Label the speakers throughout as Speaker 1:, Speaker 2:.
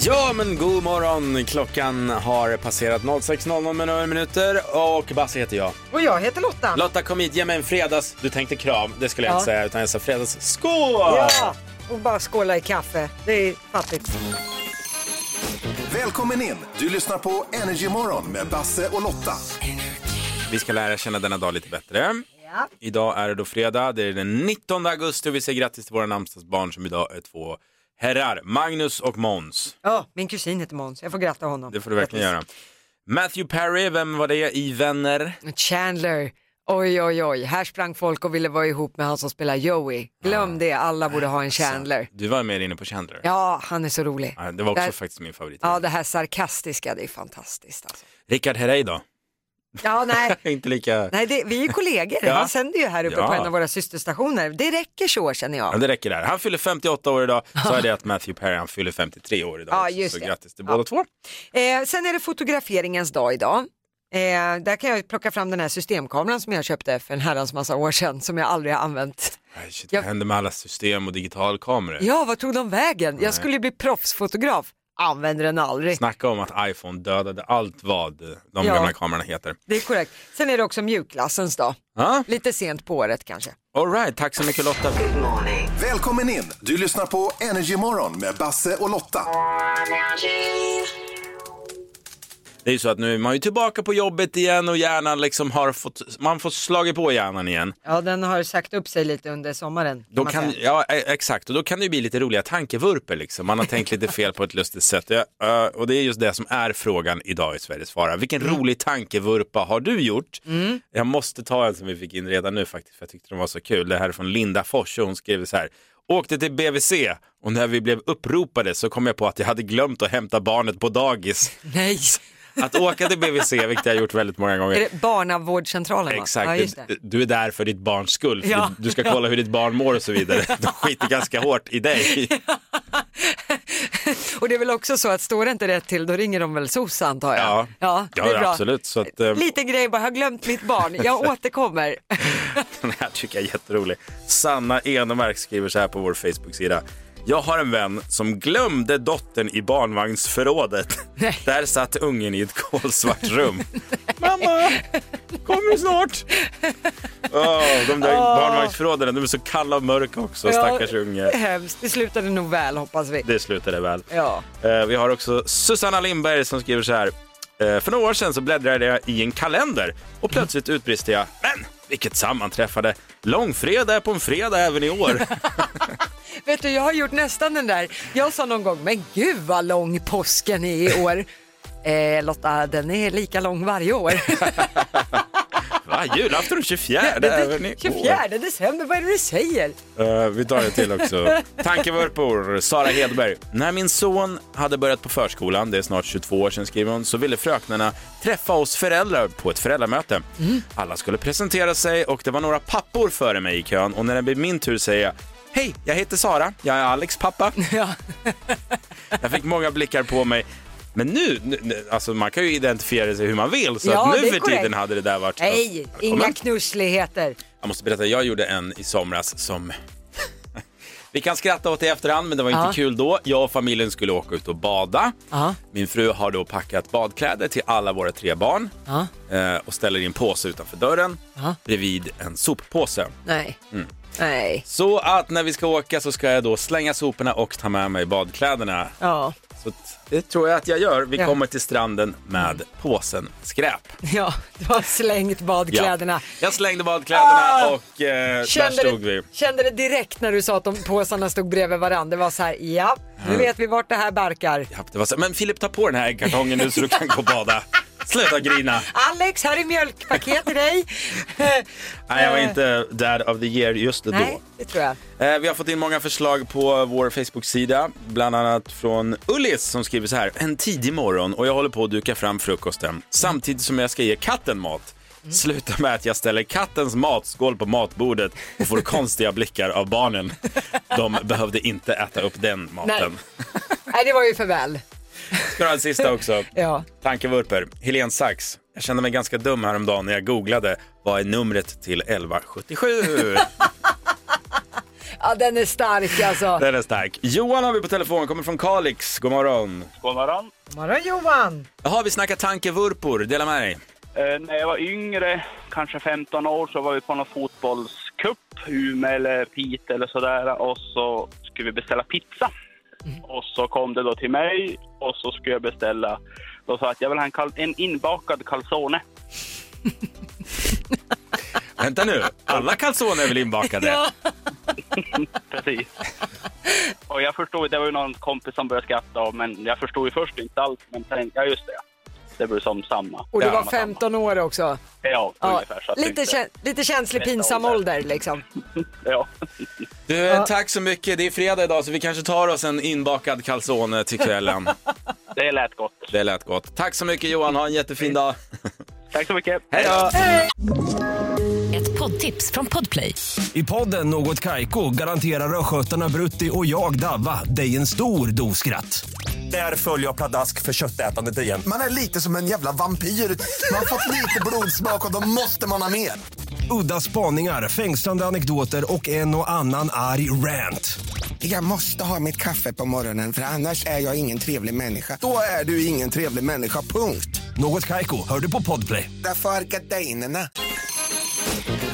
Speaker 1: Ja, men god morgon. Klockan har passerat 06.00 med några minuter och Basse heter jag.
Speaker 2: Och jag heter Lotta.
Speaker 1: Lotta, kom hit. Ge mig en fredags... Du tänkte kram, det skulle jag
Speaker 2: Ja.
Speaker 1: inte säga, utan jag sa fredags... Skål!
Speaker 2: ja, och bara skåla i kaffe. Det är fattigt.
Speaker 3: Välkommen in! Du lyssnar på Energy Morgon med Basse och Lotta.
Speaker 1: Vi ska lära känna denna dag lite bättre.
Speaker 2: Ja.
Speaker 1: Idag är det då fredag, det är den 19 augusti och vi säger grattis till våra namnsdagsbarn som idag är två herrar, Magnus och Måns.
Speaker 2: ja, min kusin heter Måns. Jag får gratta honom.
Speaker 1: Det får du verkligen göra. Matthew Perry, vem var det i Vänner?
Speaker 2: Chandler. Oj, oj, oj. Här sprang folk och ville vara ihop med han som spelar Joey. Glöm det, alla borde ha en Chandler.
Speaker 1: Du var mer inne på Chandler.
Speaker 2: Ja, han är så rolig.
Speaker 1: Ja, Det var också
Speaker 2: Där-
Speaker 1: faktiskt min favorit.
Speaker 2: Ja, det här sarkastiska, det är fantastiskt alltså.
Speaker 1: Rickard Herrey då?
Speaker 2: Ja, nej.
Speaker 1: Inte lika...
Speaker 2: Nej, det, vi är ju kollegor.
Speaker 1: Ja.
Speaker 2: Han sänder ju här uppe
Speaker 1: Ja.
Speaker 2: på en av våra systerstationer. Det räcker så känner
Speaker 1: Ja,
Speaker 2: jag.
Speaker 1: det räcker där. Han fyller 58 år idag, så är det att Matthew Perry han fyller 53 år idag.
Speaker 2: Ja,
Speaker 1: också.
Speaker 2: just
Speaker 1: så
Speaker 2: det.
Speaker 1: grattis till båda två.
Speaker 2: Eh, sen är det fotograferingens dag idag. Eh, där kan jag plocka fram den här systemkameran som jag köpte för en herrans massa år sedan som jag aldrig har använt.
Speaker 1: Ay, shit,
Speaker 2: Jag-
Speaker 1: Vad händer med alla system och digitalkameror?
Speaker 2: Ja, vad tog de vägen? Jag skulle ju bli proffsfotograf. Använder den aldrig.
Speaker 1: Snacka om att iPhone dödade allt vad de
Speaker 2: Ja.
Speaker 1: gamla kamerorna heter.
Speaker 2: Det är korrekt. Sen är det också mjukglassens dag.
Speaker 1: Ja,
Speaker 2: Lite sent på året kanske.
Speaker 1: all right. Tack så mycket Lotta.
Speaker 3: Välkommen in! Du lyssnar på Energy Morgon med Basse och Lotta.
Speaker 1: Det är ju så att nu är man ju tillbaka på jobbet igen och hjärnan liksom har fått, man får slagit på hjärnan igen.
Speaker 2: Ja, den har sagt upp sig lite under sommaren.
Speaker 1: Då kan, ja, e- exakt, och då kan det ju bli lite roliga tankevurper liksom. Man har tänkt lite fel på ett lustigt sätt. Ja, ö, och det är just det som är frågan idag i Sveriges Fara. Vilken rolig tankevurpa har du gjort? Jag måste ta en som vi fick in redan nu faktiskt, för jag tyckte den var så kul. Det här är från Linda Fors och hon skrev så här. Åkte till BVC och när vi blev uppropade så kom jag på att jag hade glömt att hämta barnet på dagis.
Speaker 2: Nej,
Speaker 1: Att åka till BVC, vilket jag har gjort väldigt många gånger.
Speaker 2: är det barnavårdscentralen? va?
Speaker 1: Exakt,
Speaker 2: Ja, just det.
Speaker 1: Du- du är där för ditt barns skull. För
Speaker 2: Ja.
Speaker 1: du, du ska kolla hur ditt barn mår och så vidare. De skiter ganska hårt i dig.
Speaker 2: Och det är väl också så att står det inte rätt till då ringer de väl SOS antar jag?
Speaker 1: Ja,
Speaker 2: ja, det är bra.
Speaker 1: absolut. Så att, eh,
Speaker 2: Liten grej bara, jag har glömt mitt barn, jag återkommer.
Speaker 1: den här tycker jag är jätterolig. Sanna Enemark skriver så här på vår Facebook-sida. Jag har en vän som glömde dottern i barnvagnsförrådet.
Speaker 2: Nej.
Speaker 1: Där satt ungen i ett kolsvart rum. Mamma, kommer du snart? Åh, de där barnvagnsförråden, de är så kalla och mörka också, stackars unge.
Speaker 2: Hemskt, det slutade nog väl hoppas vi.
Speaker 1: Det slutade väl.
Speaker 2: Ja.
Speaker 1: Eh, Vi har också Susanna Lindberg som skriver så här. Eh, För några år sedan så bläddrade jag i en kalender och plötsligt utbrister jag Men vilket sammanträffande! Långfredag är på en fredag även i år.
Speaker 2: Vet du, jag har gjort nästan den där, jag sa någon gång, men gud vad lång påsken är i år. Eh, Lotta, den är lika lång varje år.
Speaker 1: Va? Julafton den 24
Speaker 2: Den är
Speaker 1: även i
Speaker 2: 24 december, vad är det du säger?
Speaker 1: år. Eh, Vi tar det till också. Tankevurpor, Sara Hedberg. När min son hade börjat på förskolan, det är snart 22 år sedan skriver hon, så ville fröknarna träffa oss föräldrar på ett föräldramöte.
Speaker 2: Mm.
Speaker 1: Alla skulle presentera sig och det var några pappor före mig i kön och när det blir min tur säger jag Hej, jag heter Sara, jag är Alex pappa.
Speaker 2: Ja.
Speaker 1: Jag fick många blickar på mig. Men nu, nu- nu alltså man kan ju identifiera sig hur man vill så
Speaker 2: Ja,
Speaker 1: att
Speaker 2: det
Speaker 1: nu
Speaker 2: är
Speaker 1: för
Speaker 2: korrekt.
Speaker 1: tiden hade det där varit...
Speaker 2: Nej, inga
Speaker 1: Välkommen.
Speaker 2: knussligheter.
Speaker 1: Jag måste berätta, jag gjorde en i somras som... Vi kan skratta åt det i efterhand, men det var inte
Speaker 2: Ja.
Speaker 1: kul då. Jag och familjen skulle åka ut och bada.
Speaker 2: Ja.
Speaker 1: Min fru har då packat badkläder till alla våra tre barn
Speaker 2: Ja.
Speaker 1: eh, och ställer i en påse utanför dörren
Speaker 2: Ja.
Speaker 1: bredvid en soppåse.
Speaker 2: Nej,
Speaker 1: Mm.
Speaker 2: nej,
Speaker 1: Så att när vi ska åka så ska jag då slänga soporna och ta med mig badkläderna.
Speaker 2: ja,
Speaker 1: Så att det tror jag att jag gör. Vi
Speaker 2: Ja.
Speaker 1: kommer till stranden med påsen skräp.
Speaker 2: ja, du har slängt
Speaker 1: Ja.
Speaker 2: badkläderna.
Speaker 1: Jag slängde badkläderna
Speaker 2: Ah!
Speaker 1: och eh,
Speaker 2: Kände
Speaker 1: där stod
Speaker 2: det,
Speaker 1: vi.
Speaker 2: kände det direkt när du sa att de påsarna stod bredvid varandra. Det var så här, ja, nu vet vi vart det här barkar.
Speaker 1: Ja, det var så, men Filip, ta på den här äggkartongen nu så du kan gå och bada. Sluta grina.
Speaker 2: Alex, här är mjölkpaket till dig.
Speaker 1: Nej, jag var inte dad of the year just då.
Speaker 2: Nej, det tror jag.
Speaker 1: Eh, vi har fått in många förslag på vår Facebook-sida. Bland annat från Ullis som skriver så här. En tidig morgon och jag håller på att duka fram frukosten samtidigt som jag ska ge katten mat.
Speaker 2: Mm.
Speaker 1: Sluta med att jag ställer kattens matskål på matbordet och får konstiga blickar av barnen. De behövde inte äta upp den
Speaker 2: Nej.
Speaker 1: maten.
Speaker 2: Nej, det var ju för väl.
Speaker 1: Ska du ha en sista också?
Speaker 2: Ja.
Speaker 1: Tankevurper. Helen Sax. Jag kände mig ganska dum häromdagen när jag googlade vad är numret till 1177?
Speaker 2: Ja, den är stark alltså.
Speaker 1: Den är stark. Johan har vi på telefon, kommer från Kalix. God morgon.
Speaker 4: God morgon.
Speaker 5: Morgon Johan!
Speaker 1: Jaha, vi snackar tankevurpor. Dela med dig.
Speaker 4: Eh, när jag var yngre, kanske 15 år, så var vi på någon fotbollscup, Umeå eller Piteå eller sådär. Och så skulle vi beställa pizza.
Speaker 2: Mm.
Speaker 4: Och så kom det då till mig och så skulle jag beställa. Då sa jag att jag vill ha en, kal- en inbakad calzone.
Speaker 1: Vänta nu, alla calzone är väl inbakade?
Speaker 4: Precis. och jag förstod, det var ju någon kompis som började skratta av, men jag förstod ju först inte alls. Men tänkte, ja just det. Det blir som samma.
Speaker 2: Och du
Speaker 1: Ja,
Speaker 2: var
Speaker 4: samma, samma.
Speaker 2: 15 år också.
Speaker 4: Ja,
Speaker 2: Ja,
Speaker 4: ungefär. Så att
Speaker 2: lite,
Speaker 4: inte-
Speaker 2: kä- lite känslig
Speaker 4: Nästa
Speaker 2: pinsam
Speaker 4: ålder.
Speaker 2: ålder liksom.
Speaker 4: Ja.
Speaker 1: Du, eh, tack så mycket. Det är fredag idag så vi kanske tar oss en inbakad calzone till kvällen.
Speaker 4: Det lät gott.
Speaker 1: Det lät gott. Tack så mycket Johan, ha en jättefin dag.
Speaker 4: Tack så mycket.
Speaker 1: Hej då!
Speaker 6: Ett poddtips från Podplay.
Speaker 7: I podden Något Kaiko garanterar östgötarna Brutti och jag, Davva, dig en stor dos skratt. Där följer jag pladask för köttätandet igen.
Speaker 8: Man är lite som en jävla vampyr. Man har fått lite blodsmak och då måste man ha mer.
Speaker 7: Udda spaningar, fängslande anekdoter och en och annan arg rant.
Speaker 8: Jag måste ha mitt kaffe på morgonen för annars är jag ingen trevlig människa. Då är du ingen trevlig människa, punkt.
Speaker 7: Något Kaiko, hör du på Podplay.
Speaker 8: Därför är gardinerna.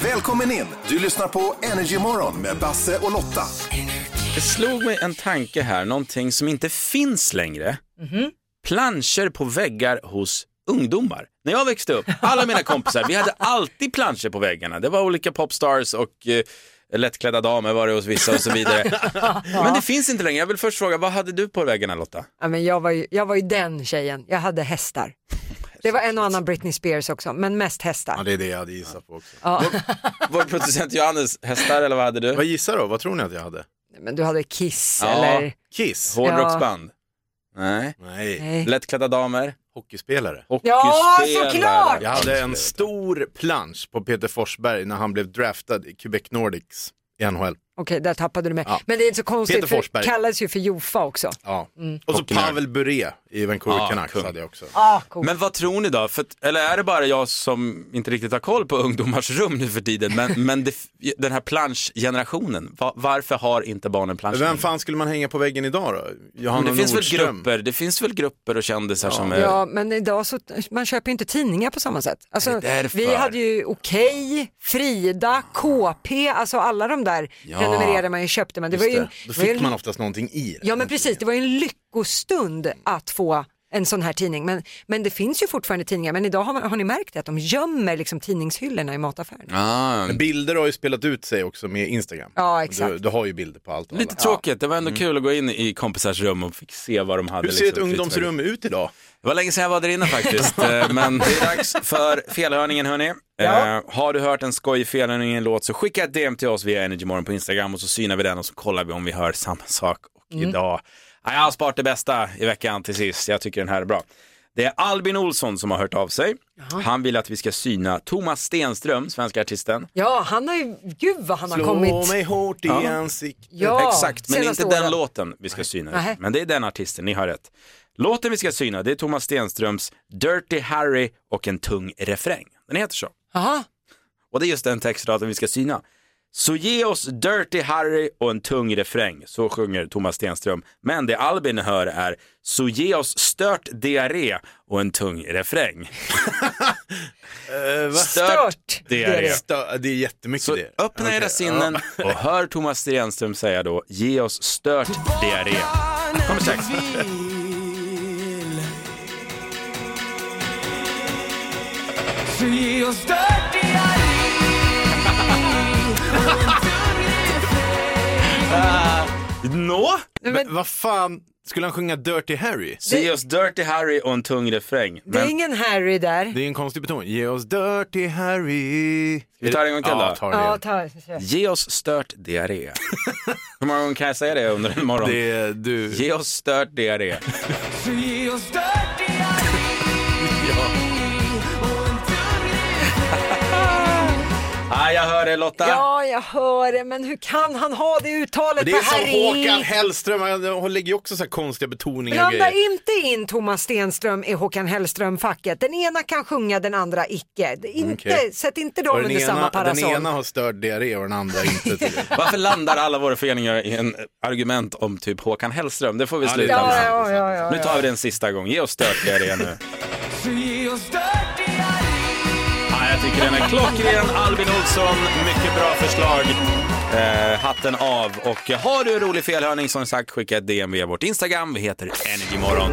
Speaker 3: Välkommen in! Du lyssnar på Energy Morgon med Basse och Lotta.
Speaker 1: Det slog mig en tanke här, någonting som inte finns längre.
Speaker 2: Mhm.
Speaker 1: Planscher på väggar hos ungdomar. När jag växte upp, alla mina kompisar, vi hade alltid planscher på väggarna. Det var olika popstars och eh, lättklädda damer var det hos vissa och så vidare. Men det finns inte längre. Jag vill först fråga, vad hade du på väggarna Lotta?
Speaker 2: Ja, men jag, var ju, jag var ju den tjejen, jag hade hästar. Det var en och annan Britney Spears också, men mest hästar.
Speaker 9: det är det jag hade gissat på också.
Speaker 1: Var det producent Johannes hästar eller vad hade du?
Speaker 9: Vad gissar då? Vad tror ni att jag hade?
Speaker 2: Men du hade Kiss
Speaker 1: Ja.
Speaker 2: eller...
Speaker 9: Kiss?
Speaker 1: Hårdrocksband? Nej.
Speaker 9: Nej.
Speaker 2: Nej.
Speaker 1: Lättklädda damer?
Speaker 9: Hockeyspelare.
Speaker 2: Ja,
Speaker 1: Hockeyspelare.
Speaker 2: såklart!
Speaker 9: Jag hade en stor plansch på Peter Forsberg när han blev draftad i Quebec Nordics i NHL.
Speaker 2: Okej, där tappade du mig.
Speaker 9: Ja.
Speaker 2: Men det är inte så konstigt,
Speaker 9: Peter
Speaker 2: för
Speaker 9: Forsberg.
Speaker 2: kallades ju för Jofa också.
Speaker 9: Ja. Och så
Speaker 1: Populärt.
Speaker 9: Pavel Bure i Vancouver
Speaker 1: Ja,
Speaker 9: Canucks
Speaker 1: kung.
Speaker 9: hade jag också.
Speaker 2: Mm. Ah, cool.
Speaker 1: Men vad tror ni då? För, att- eller är det bara jag som inte riktigt har koll på ungdomars rum nu för tiden? Men, men det, den här planschgenerationen, va, varför har inte barnen plansch?
Speaker 9: Vem fan skulle man hänga på väggen idag då?
Speaker 1: Men
Speaker 9: Johanna
Speaker 1: det finns, väl
Speaker 9: Nordström.
Speaker 1: grupper, det finns väl grupper och kändisar som är...
Speaker 9: Eh.
Speaker 2: Ja, men idag så, man köper ju inte tidningar på samma sätt. Alltså,
Speaker 1: Det är därför.
Speaker 2: vi hade ju Okej, Frida, KP, alltså alla de där prenumererade man ju köpte. Men det var
Speaker 9: Just
Speaker 2: ju,
Speaker 9: det.
Speaker 2: en-
Speaker 9: Då
Speaker 2: det var ju
Speaker 9: fick
Speaker 2: en,
Speaker 9: man oftast någonting i det.
Speaker 2: Ja men precis, det var ju en lyckostund att få en sån här tidning. Men, men det finns ju fortfarande tidningar, men idag har, man, har ni märkt det att de gömmer liksom tidningshyllorna i mataffärerna.
Speaker 1: Ah,
Speaker 9: Men Bilder har ju spelat ut sig också med Instagram.
Speaker 2: Ja, exakt.
Speaker 9: Du, du har ju bilder på allt. och
Speaker 1: lite
Speaker 9: alla.
Speaker 1: tråkigt, det var ändå kul att gå in i kompisars rum och fick se vad de hade.
Speaker 9: Hur Mm. ser ett
Speaker 1: liksom, fritt-
Speaker 9: ungdomsrum ut idag?
Speaker 1: Det var länge sedan jag var där inne faktiskt, eh, men det är dags för felhörningen hörni. Eh, har du hört en skojig felhörning i en låt så skicka ett DM till oss via Energymorgon på Instagram och så synar vi den och så kollar vi om vi hör samma sak. Och idag, ja, jag har sparat det bästa i veckan till sist, jag tycker den här är bra. Det är Albin Olsson som har hört av sig. Han vill att vi ska syna Thomas Stenström, svenska artisten.
Speaker 2: Ja, han har ju, gud vad han har
Speaker 9: Slå
Speaker 2: kommit.
Speaker 9: mig hårt i ansiktet.
Speaker 2: Ja,
Speaker 1: Exakt, men
Speaker 2: senaste
Speaker 1: inte den
Speaker 2: åren.
Speaker 1: låten vi ska syna.
Speaker 2: Nej.
Speaker 1: Men det är den artisten, ni har rätt. Låten vi ska syna det är Thomas Stenströms Dirty Harry och en tung refräng. Den heter så.
Speaker 2: Jaha,
Speaker 1: Och det är just den textraden vi ska syna. Så ge oss Dirty Harry och en tung refräng, så sjunger Thomas Stenström. Men det Albin hör är Så ge oss stört diarré och en tung refräng.
Speaker 9: Eh, va?
Speaker 2: stört.
Speaker 1: diarré.
Speaker 9: Stö- Det är jättemycket
Speaker 1: Så
Speaker 9: det.
Speaker 1: öppna
Speaker 9: Okej,
Speaker 1: era
Speaker 9: ja.
Speaker 1: sinnen och hör Thomas Stenström säga då Ge oss stört diarré. Kommer strax. Nå?
Speaker 9: Men vad fan, skulle han sjunga Dirty Harry?
Speaker 1: Så ge oss Dirty Harry och en tung refräng.
Speaker 2: Det är
Speaker 1: Men
Speaker 2: ingen Harry där.
Speaker 9: Det är en konstig betoning. Ge oss Dirty Harry. Ska
Speaker 1: vi ta det en gång till då?
Speaker 9: Ja, ta det
Speaker 2: Ja, ta,
Speaker 9: igen.
Speaker 1: ge oss stört diarré. Hur många gånger kan jag säga det under en morgon?
Speaker 9: Det är du.
Speaker 1: Ge oss stört diarré. ja. Ja, Ah, jag hör det Lotta.
Speaker 2: Ja, jag hör det, men hur kan han ha det uttalet?
Speaker 9: Det är
Speaker 2: på
Speaker 9: som
Speaker 2: Harry?
Speaker 9: Håkan Hellström, han han lägger ju också så här konstiga betoningar och
Speaker 2: Blanda
Speaker 9: grejer.
Speaker 2: inte in Thomas Stenström i Håkan Hellström-facket. Den ena kan sjunga, den andra icke. Det- Inte,
Speaker 9: Okej.
Speaker 2: Sätt inte
Speaker 9: Och
Speaker 2: dem
Speaker 9: den,
Speaker 2: under samma
Speaker 9: ena, den
Speaker 2: parasoll.
Speaker 9: ena har störd diarré och den andra inte. tydligen.
Speaker 1: Varför landar alla våra föreningar i en argument om typ Håkan Hellström? Det får vi
Speaker 9: det är
Speaker 1: sluta
Speaker 9: sant.
Speaker 1: med.
Speaker 2: Ja, ja, ja,
Speaker 1: Nu tar vi den sista gång. Ge oss stökigare igen nu. Ja, jag tycker den är klockren. Albin Olsson, mycket bra förslag. Eh, hatten av. Och har du en rolig felhörning, som sagt, skicka ett DM via vårt Instagram. Vi heter Energymorgon.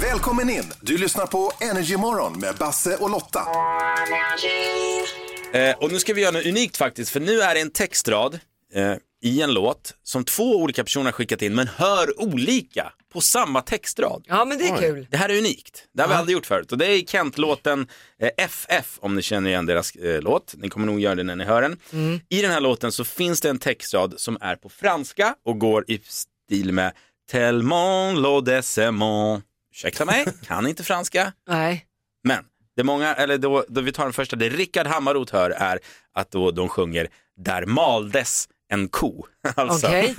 Speaker 3: Välkommen in! Du lyssnar på Energy Morgon med Basse och Lotta.
Speaker 1: Eh, och nu ska vi göra något unikt faktiskt, för nu är det en textrad eh, i en låt som två olika personer har skickat in, men hör olika på samma textrad.
Speaker 2: Ja, men det är kul.
Speaker 1: Det här är unikt. Det har vi aldrig gjort förut. Och det är Kent-låten eh, FF, om ni känner igen deras eh, låt. Ni kommer nog göra det när ni hör den. I den här låten så finns det en textrad som är på franska och går i stil med Tellement l'audécement. Ursäkta mig, kan inte franska.
Speaker 2: Nej.
Speaker 1: Men det många, eller då, då vi tar den första, det Rickard Hammarot hör är att då de sjunger Där maldes en ko. Alltså,
Speaker 2: Okej,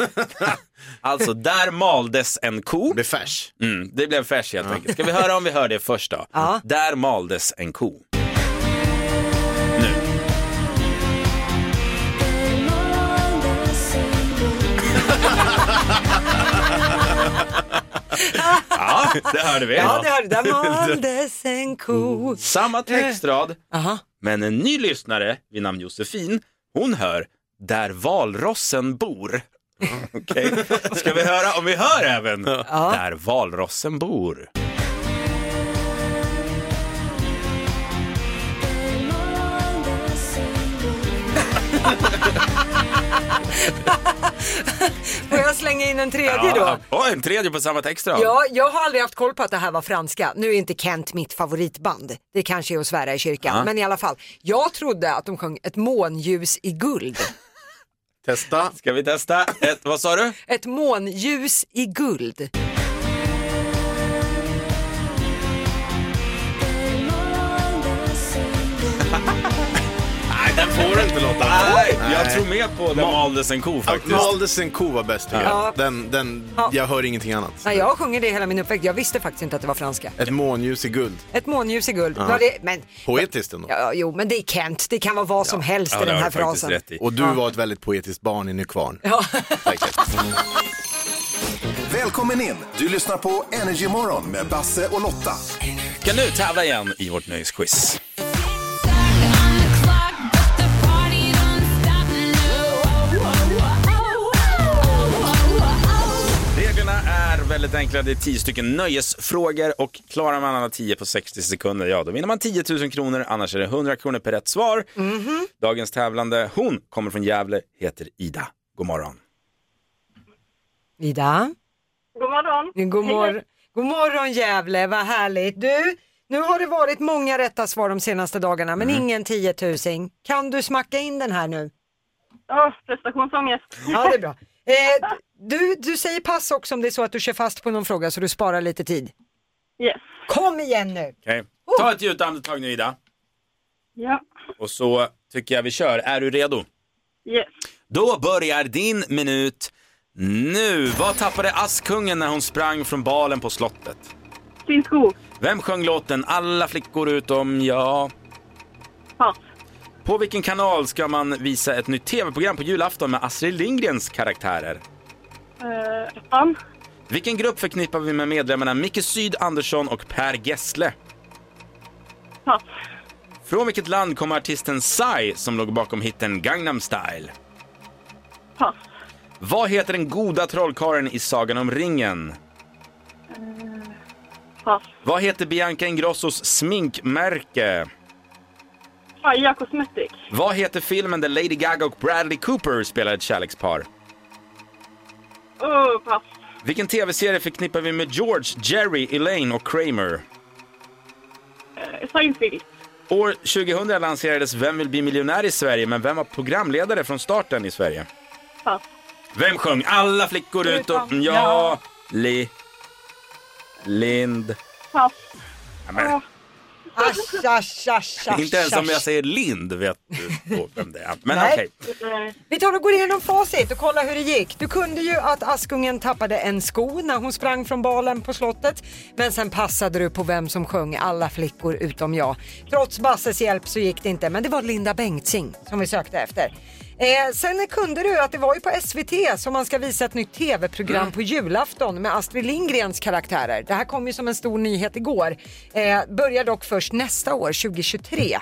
Speaker 1: alltså där maldes en ko.
Speaker 9: Blir färs.
Speaker 1: Mm, det blev färs helt enkelt. Ska vi höra om vi hör det först då?
Speaker 2: Ja.
Speaker 1: Där maldes en ko. Nu. ja, det hörde vi.
Speaker 2: ja det hörde Där maldes en ko.
Speaker 1: Samma textrad,
Speaker 2: Eh, Aha.
Speaker 1: men en ny lyssnare vid namn Josefin, hon hör Där valrossen bor. Okej, ska vi höra om vi hör även Där valrossen bor?
Speaker 2: Får jag slänga in en tredje då?
Speaker 1: Ja, och en tredje på samma textrad.
Speaker 2: Ja, jag har aldrig haft koll på att det här var franska. Nu är inte Kent mitt favoritband. Det kanske är att svära i kyrkan, men i alla fall. Jag trodde att de sjöng ett månljus i guld.
Speaker 9: Testa.
Speaker 1: Ska vi testa? Ett, vad sa du?
Speaker 2: Ett månljus i guld.
Speaker 1: Nej, den får du inte Lotta. Nej, jag tror mer på Den maldes en ko faktiskt.
Speaker 9: Maldes en ko var bäst tycker
Speaker 2: Ja.
Speaker 9: jag. Den, den,
Speaker 2: Ja.
Speaker 9: jag hör ingenting annat.
Speaker 2: Nej, jag sjunger det hela min uppväxt. Jag visste faktiskt inte att det var franska.
Speaker 9: Ett månljus i guld.
Speaker 2: Ett månljus i guld. Ja, det, men,
Speaker 9: Poetiskt ändå.
Speaker 2: ja, jo, men det är Kent. Det kan vara vad som helst i
Speaker 1: det
Speaker 2: den
Speaker 1: har
Speaker 2: här
Speaker 1: du faktiskt
Speaker 2: frasen.
Speaker 1: rätt i.
Speaker 9: Och du var ett väldigt poetiskt barn i Nykvarn.
Speaker 2: Ja.
Speaker 9: Säkert.
Speaker 3: Välkommen in! Du lyssnar på Energy Morgon med Basse och Lotta.
Speaker 1: Ska nu tävla igen i vårt nöjesquiz. Reglerna är väldigt enkla. Det är tio stycken nöjesfrågor och klarar man alla tio på 60 sekunder, ja då vinner man 10 000 kronor. Annars är det 100 kronor per rätt svar.
Speaker 2: Mhm.
Speaker 1: Dagens tävlande, hon kommer från Gävle, heter Ida. God morgon.
Speaker 2: Ida,
Speaker 5: God morgon.
Speaker 2: god, mor- god morgon Gävle, vad härligt. Du, nu har det varit många rätta svar de senaste dagarna, men
Speaker 1: Mm.
Speaker 2: ingen tiotusing. Kan du smacka in den här nu?
Speaker 5: Oh, prestationsångest.
Speaker 2: Ja, det är bra. Eh, du, du säger pass också om det är så att du kör fast på någon fråga så du sparar lite tid.
Speaker 5: Yes.
Speaker 2: Kom igen nu!
Speaker 1: Okej. Ta ett djupt andetag nu Ida.
Speaker 5: Ja.
Speaker 1: Och så tycker jag vi kör. Är du redo?
Speaker 5: Yes.
Speaker 1: Då börjar din minut nu. Vad tappade Askungen när hon sprang från balen på slottet?
Speaker 5: Sin sko.
Speaker 1: Vem sjöng låten Alla flickor utom jag?
Speaker 5: Pass.
Speaker 1: På vilken kanal ska man visa ett nytt tv-program på julafton med Astrid Lindgrens karaktärer?
Speaker 5: Uh, an.
Speaker 1: Vilken grupp förknippar vi med medlemmarna Micke Syd Andersson och Per Gessle?
Speaker 5: Pass.
Speaker 1: Från vilket land kommer artisten Psy som låg bakom hitten Gangnam style?
Speaker 5: Pass.
Speaker 1: Vad heter den goda trollkarlen i Sagan om ringen?
Speaker 5: Eh, Pass.
Speaker 1: Vad heter Bianca Ingrossos sminkmärke?
Speaker 5: Faja Cosmetic.
Speaker 1: Vad heter filmen där Lady Gaga och Bradley Cooper spelar ett kärlekspar?
Speaker 5: Oh, pass.
Speaker 1: Vilken tv-serie förknippar vi med George, Jerry, Elaine och Kramer?
Speaker 5: Uh, Seinfeld.
Speaker 1: År 2000 lanserades Vem vill bli miljonär i Sverige, men vem var programledare från starten i Sverige?
Speaker 5: Pass.
Speaker 1: Vem sjöng Alla flickor utom jag? Li... Lind...
Speaker 5: Pass.
Speaker 1: Ja, men,
Speaker 5: Ja.
Speaker 2: Asch, asch, asch, asch,
Speaker 1: Inte ens om jag
Speaker 2: asch.
Speaker 1: säger Lind vet du då vem det är. Men
Speaker 2: Nej.
Speaker 1: okej.
Speaker 5: Eh,
Speaker 2: Vi tar och går igenom facit och kollar hur det gick. Du kunde ju att Askungen tappade en sko när hon sprang från balen på slottet. Men sen passade du på vem som sjöng Alla flickor utom jag. Trots Basses hjälp så gick det inte, men det var Linda Bengtzing som vi sökte efter. Eh, sen kunde du att det var ju på SVT som man ska visa ett nytt tv-program på julafton med Astrid Lindgrens karaktärer. Det här kom ju som en stor nyhet igår. Eh, börjar dock först nästa år, 2023.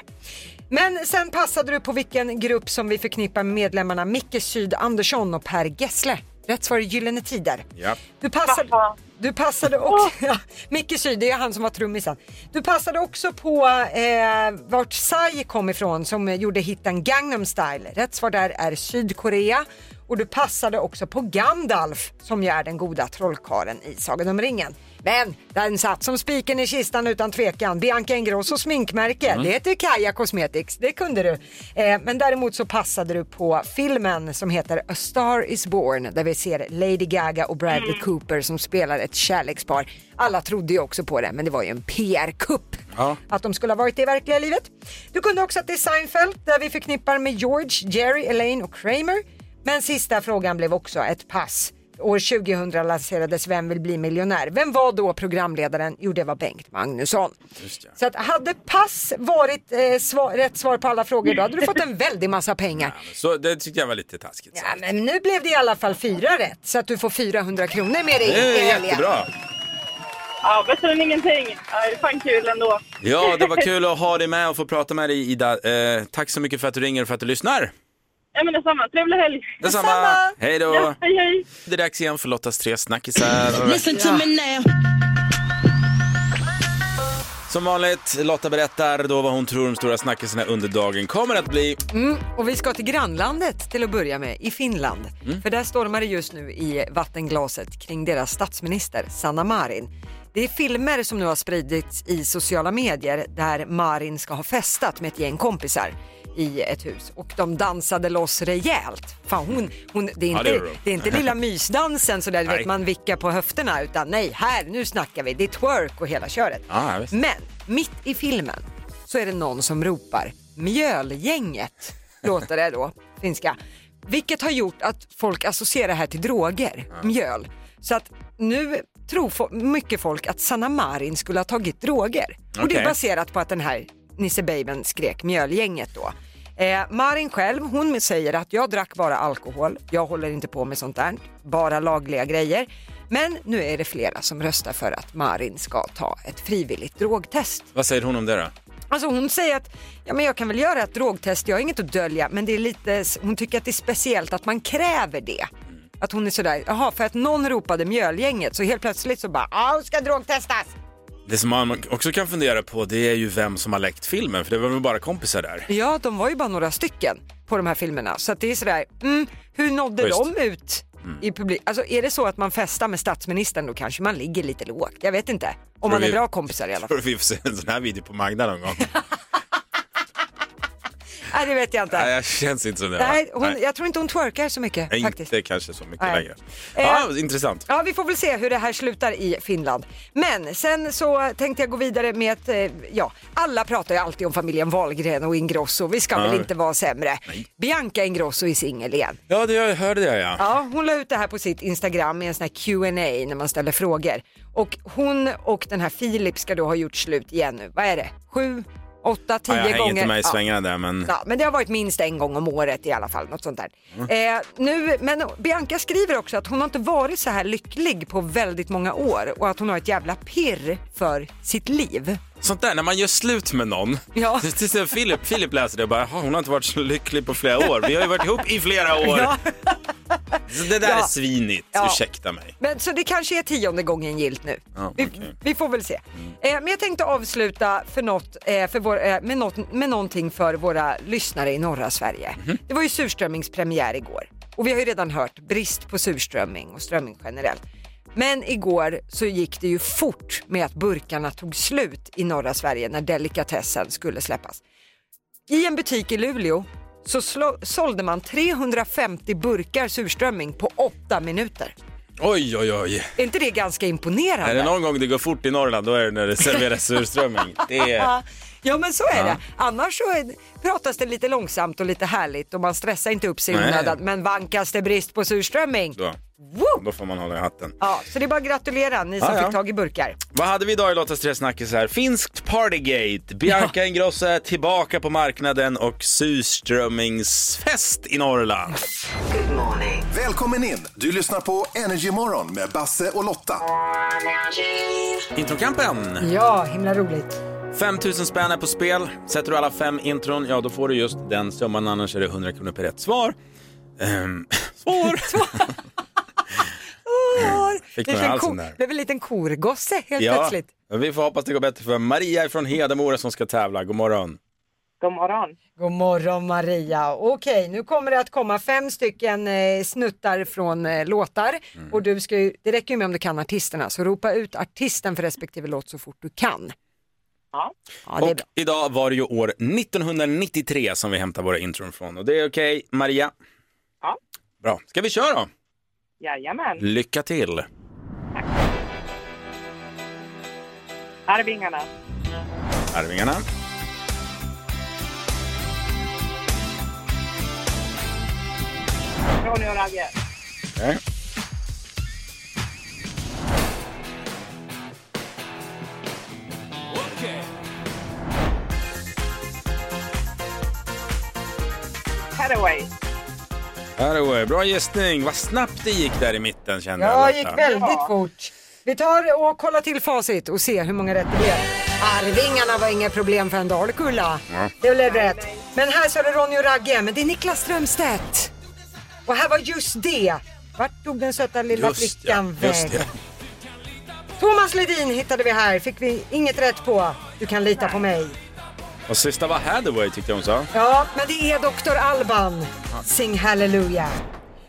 Speaker 2: Men sen passade du på vilken grupp som vi förknippar med medlemmarna Micke Syd Andersson och Per Gessle. Rätt svar är Gyllene Tider.
Speaker 1: Ja.
Speaker 2: Du passade,
Speaker 5: Pappa.
Speaker 2: du passade också... Ja, Micke Syd, det är han som var trummisen. Du passade också på eh, vart Psy kom ifrån som gjorde hitten Gangnam Style. Rätt svar där är Sydkorea. Och du passade också på Gandalf som ju är den goda trollkaren i Sagan om ringen. Men den satt som spiken i kistan utan tvekan. Bianca Ingrossos sminkmärke, det heter Kaja Cosmetics, det kunde du. Eh, men däremot så passade du på filmen som heter A Star Is Born där vi ser Lady Gaga och Bradley Cooper som spelar ett kärlekspar. Alla trodde ju också på det, men det var ju en PR-kupp
Speaker 1: Ja.
Speaker 2: att de skulle ha varit det i verkliga livet. Du kunde också att det är Seinfeld där vi förknippar med George, Jerry, Elaine och Kramer. Men sista frågan blev också ett pass. År 2000 lanserades Vem vill bli miljonär? Vem var då programledaren? Jo, det var Bengt Magnusson. Så att hade pass varit eh, svar, rätt svar på alla frågor då hade du fått en väldig massa pengar.
Speaker 1: Så det tyckte jag var lite taskigt
Speaker 2: Ja,
Speaker 1: sagt.
Speaker 2: men nu blev det i alla fall fyra rätt så att du får 400 kronor med dig
Speaker 1: Det
Speaker 2: i
Speaker 1: är
Speaker 2: helgen.
Speaker 1: jättebra.
Speaker 5: Ja, bättre än ingenting. Ja, det är fan kul ändå.
Speaker 1: Ja, det var kul att ha dig med och få prata med dig Ida. Eh, tack så mycket för att du ringer och för att du lyssnar.
Speaker 5: Ja, men detsamma. Trevlig helg!
Speaker 1: Detsamma. Hej
Speaker 5: Ja,
Speaker 1: då.
Speaker 5: hej, hej!
Speaker 1: Det är dags igen för Lottas tre snackisar. Som vanligt, Lotta berättar då vad hon tror de stora snackisarna under dagen kommer att bli.
Speaker 2: Mm, Och vi ska till grannlandet till att börja med, i Finland.
Speaker 1: Mm.
Speaker 2: För där stormar det just nu i vattenglaset kring deras statsminister Sanna Marin. Det är filmer som nu har spridits i sociala medier där Marin ska ha festat med ett gäng kompisar i ett hus och de dansade loss rejält. Fan, hon, hon, det, är
Speaker 1: Ja,
Speaker 2: inte,
Speaker 1: det
Speaker 2: det,
Speaker 1: gjorde de.
Speaker 2: är inte lilla mysdansen så där du
Speaker 1: Nej.
Speaker 2: vet man vickar på höfterna utan nej, här nu snackar vi, det är twerk och hela köret.
Speaker 1: Ja, visst.
Speaker 2: Men mitt i filmen så är det någon som ropar mjölgänget, låter det då, finska. Vilket har gjort att folk associerar det här till droger, mjöl. Så att nu tror fo- mycket folk att Sanna Marin skulle ha tagit droger. Och det
Speaker 1: Okej.
Speaker 2: är baserat på att den här Nisse Babyn skrek mjölgänget då. Eh, Marin själv, hon säger att jag drack bara alkohol, jag håller inte på med sånt där, bara lagliga grejer. Men nu är det flera som röstar för att Marin ska ta ett frivilligt drogtest.
Speaker 1: Vad säger hon om det då?
Speaker 2: Alltså hon säger att ja, men jag kan väl göra ett drogtest, jag har inget att dölja, men det är lite, hon tycker att det är speciellt att man kräver det. Att hon är sådär, jaha, för att någon ropade mjölgänget så helt plötsligt så bara, ja, hon ska drogtestas.
Speaker 1: Det som man också kan fundera på det är ju vem som har läckt filmen för det var väl bara kompisar där.
Speaker 2: Ja, de var ju bara några stycken på de här filmerna, så att det är sådär, mm, hur nådde
Speaker 1: Just. Mm.
Speaker 2: de ut i publik? Alltså är det så att man festar med statsministern då kanske man ligger lite lågt, jag vet inte. Om man
Speaker 1: vi-
Speaker 2: är bra kompisar i alla fall.
Speaker 1: Tror du vi får se en sån här video på Magda någon gång?
Speaker 2: Nej, det vet jag inte.
Speaker 1: Nej, jag känns inte som det. va?
Speaker 2: Nej, hon,
Speaker 1: Nej.
Speaker 2: jag tror inte hon twerkar så mycket faktiskt.
Speaker 1: Inte kanske så mycket
Speaker 2: Nej.
Speaker 1: längre.
Speaker 2: Eh,
Speaker 1: Ja, intressant.
Speaker 2: Ja, vi får väl se hur det här slutar i Finland. Men sen så tänkte jag gå vidare med att, eh, ja, alla pratar ju alltid om familjen Wahlgren och Ingrosso. Vi ska
Speaker 1: Ja.
Speaker 2: väl inte vara sämre. Bianca Ingrosso är singel igen.
Speaker 1: Ja, det jag hörde det ja.
Speaker 2: Ja, hon la ut det här på sitt Instagram i en sån här Q&A när man ställer frågor. Och hon och den här Filip ska då ha gjort slut igen nu. Vad är det? Sju, åtta, tio
Speaker 1: Ja, jag hänger
Speaker 2: gånger?
Speaker 1: inte med i
Speaker 2: Ja.
Speaker 1: svängarna där men
Speaker 2: Ja, men det har varit minst en gång om året i alla fall, något sånt där.
Speaker 1: Mm.
Speaker 2: Eh, nu, men Bianca skriver också att hon har inte varit så här lycklig på väldigt många år och att hon har ett jävla pirr för sitt liv.
Speaker 1: sånt där när man gör slut med någon.
Speaker 2: Ja.
Speaker 1: Till exempel Filip, Filip läser det och bara, "Jaha, hon har inte varit så lycklig på flera år. Vi har ju varit ihop i flera år.
Speaker 2: Ja.
Speaker 1: Så det där
Speaker 2: Ja.
Speaker 1: är svinigt,
Speaker 2: Ja.
Speaker 1: ursäkta mig.
Speaker 2: Men, så det kanske är tionde gången gillt nu.
Speaker 1: Ja,
Speaker 2: vi,
Speaker 1: okej.
Speaker 2: vi får väl se. Eh, men jag tänkte avsluta för något, eh, för vår, eh, med, något, med någonting för våra lyssnare i norra Sverige.
Speaker 1: Mhm.
Speaker 2: Det var ju surströmmingspremiär igår och vi har ju redan hört brist på surströmming och strömming generellt. Men igår så gick det ju fort med att burkarna tog slut i norra Sverige när delikatessen skulle släppas. I en butik i Luleå så slå, sålde man 350 burkar surströmming på 8 minuter.
Speaker 1: Oj, oj, oj.
Speaker 2: Är inte det ganska imponerande?
Speaker 1: Är det någon gång det går fort i Norrland då är det när det serveras surströmming. Det är...
Speaker 2: Ja men så är det. Annars så är, pratas det lite långsamt och lite härligt och man stressar inte upp sig i
Speaker 1: Nej.
Speaker 2: onödan. Men vankas det brist på surströmming,
Speaker 1: Då,
Speaker 2: Woo!
Speaker 1: då får man hålla i hatten.
Speaker 2: Ja, så det är bara att gratulera ni som
Speaker 1: Ja, ja.
Speaker 2: fick tag i burkar.
Speaker 1: Vad hade vi idag i Lottas tre snackisar? Finskt partygate, Bianca Ingrosso är tillbaka på marknaden och surströmmingsfest i Norrland.
Speaker 3: Välkommen in! Du lyssnar på Energy Morgon med Basse och Lotta.
Speaker 1: Introkampen!
Speaker 2: Ja, himla roligt.
Speaker 1: 5000 spänn är på spel. Sätter du alla fem intron, ja då får du just den summan, annars är det 100 kronor per rätt svar. Ehm, svar!
Speaker 2: Åh,
Speaker 1: Mm. Fick
Speaker 2: det
Speaker 1: man
Speaker 2: blev en
Speaker 1: halsen
Speaker 2: ko-
Speaker 1: där.
Speaker 2: blev en liten korgosse helt
Speaker 1: Ja,
Speaker 2: plötsligt.
Speaker 1: vi får hoppas det går bättre för Maria från Hedemora som ska tävla. God morgon!
Speaker 5: God morgon.
Speaker 2: God morgon Maria. Okej, nu kommer det att komma fem stycken eh, snuttar från eh, låtar.
Speaker 1: Mm.
Speaker 2: Och du ska ju, det räcker ju med om du kan artisterna, så ropa ut artisten för respektive låt så fort du kan.
Speaker 5: Ja.
Speaker 2: Ja, det är
Speaker 1: Och
Speaker 2: bra.
Speaker 1: idag var det ju år 1993 som vi hämtar våra intron från och det är okej, Maria?
Speaker 5: Ja.
Speaker 1: Bra, ska vi köra då?
Speaker 5: Jajamän.
Speaker 1: Lycka till!
Speaker 5: Arvingarna.
Speaker 1: Arvingarna.
Speaker 5: Ronny och Ragge.
Speaker 1: Okej.
Speaker 5: Hathaway.
Speaker 1: Hathaway, Bra gissning, vad snabbt det gick där i mitten kände jag.
Speaker 2: Ja,
Speaker 1: Lotta.
Speaker 2: gick väldigt
Speaker 5: Ja.
Speaker 2: fort. Vi tar och kollar till facit och ser hur många rätt det blev. Arvingarna var inga problem för en dalkulla. Det blev rätt. Men här så är det Ronny och Ragge, men det är Niklas Strömstedt. Och här var just det. Vart tog den söta lilla
Speaker 1: Just ja,
Speaker 2: flickan
Speaker 1: just
Speaker 2: vägen?
Speaker 1: det.
Speaker 2: Thomas Ledin hittade vi här, fick vi inget rätt på. Du kan lita på mig.
Speaker 1: Och sista var Hathaway tyckte jag hon sa.
Speaker 2: Ja, men det är Dr. Alban. Sing hallelujah.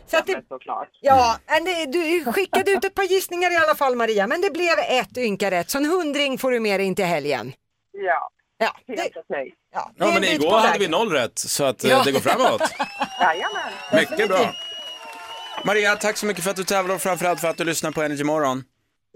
Speaker 2: Så att det,
Speaker 5: Men såklart.
Speaker 2: ja, men det, du skickade ut ett par gissningar i alla fall Maria, men det blev ett ynka rätt. Så en hundring får du med dig in till helgen.
Speaker 5: Ja,
Speaker 2: Ja, det,
Speaker 5: helt okej.
Speaker 2: ja,
Speaker 1: Ja,
Speaker 2: det är en
Speaker 1: men
Speaker 2: bit
Speaker 1: igår
Speaker 2: på
Speaker 1: hade
Speaker 2: vägen.
Speaker 1: vi noll rätt så att eh,
Speaker 2: Ja.
Speaker 1: det går framåt.
Speaker 5: Jajamän.
Speaker 1: Mycket bra. Maria, tack så mycket för att du tävlar och framförallt för att du lyssnar på Energy Morgon.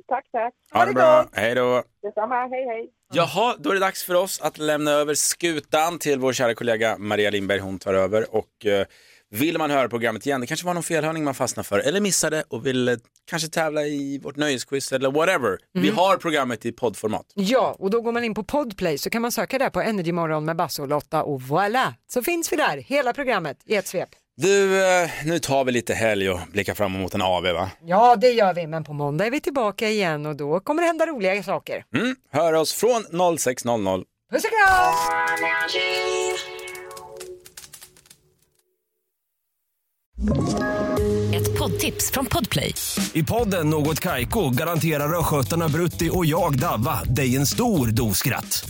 Speaker 5: Tack, tack.
Speaker 1: Ha det bra, hej då.
Speaker 5: Detsamma. Hej, hej.
Speaker 1: Jaha, då är det dags för oss att lämna över skutan till vår kära kollega Maria Lindberg. Hon tar över och eh, vill man höra programmet igen, det kanske var någon felhörning man fastnade för eller missade och vill eh, kanske tävla i vårt nöjesquiz eller whatever. Vi har programmet i poddformat.
Speaker 2: Ja, och då går man in på Podplay så kan man söka där på Energy Morgon med Basse och Lotta och voilà, så finns vi där, hela programmet i ett svep.
Speaker 1: Du, eh, nu tar vi lite helg och blickar fram emot en AV va?
Speaker 2: Ja, det gör vi, men på måndag är vi tillbaka igen och då kommer det hända roliga saker.
Speaker 1: Mm. Hör oss från 06.00.
Speaker 2: Puss och kram!
Speaker 6: Ett poddtips från Podplay.
Speaker 7: I podden Något Kaiko garanterar östgötarna Brutti och jag, Davva, dig en stor dos skratt.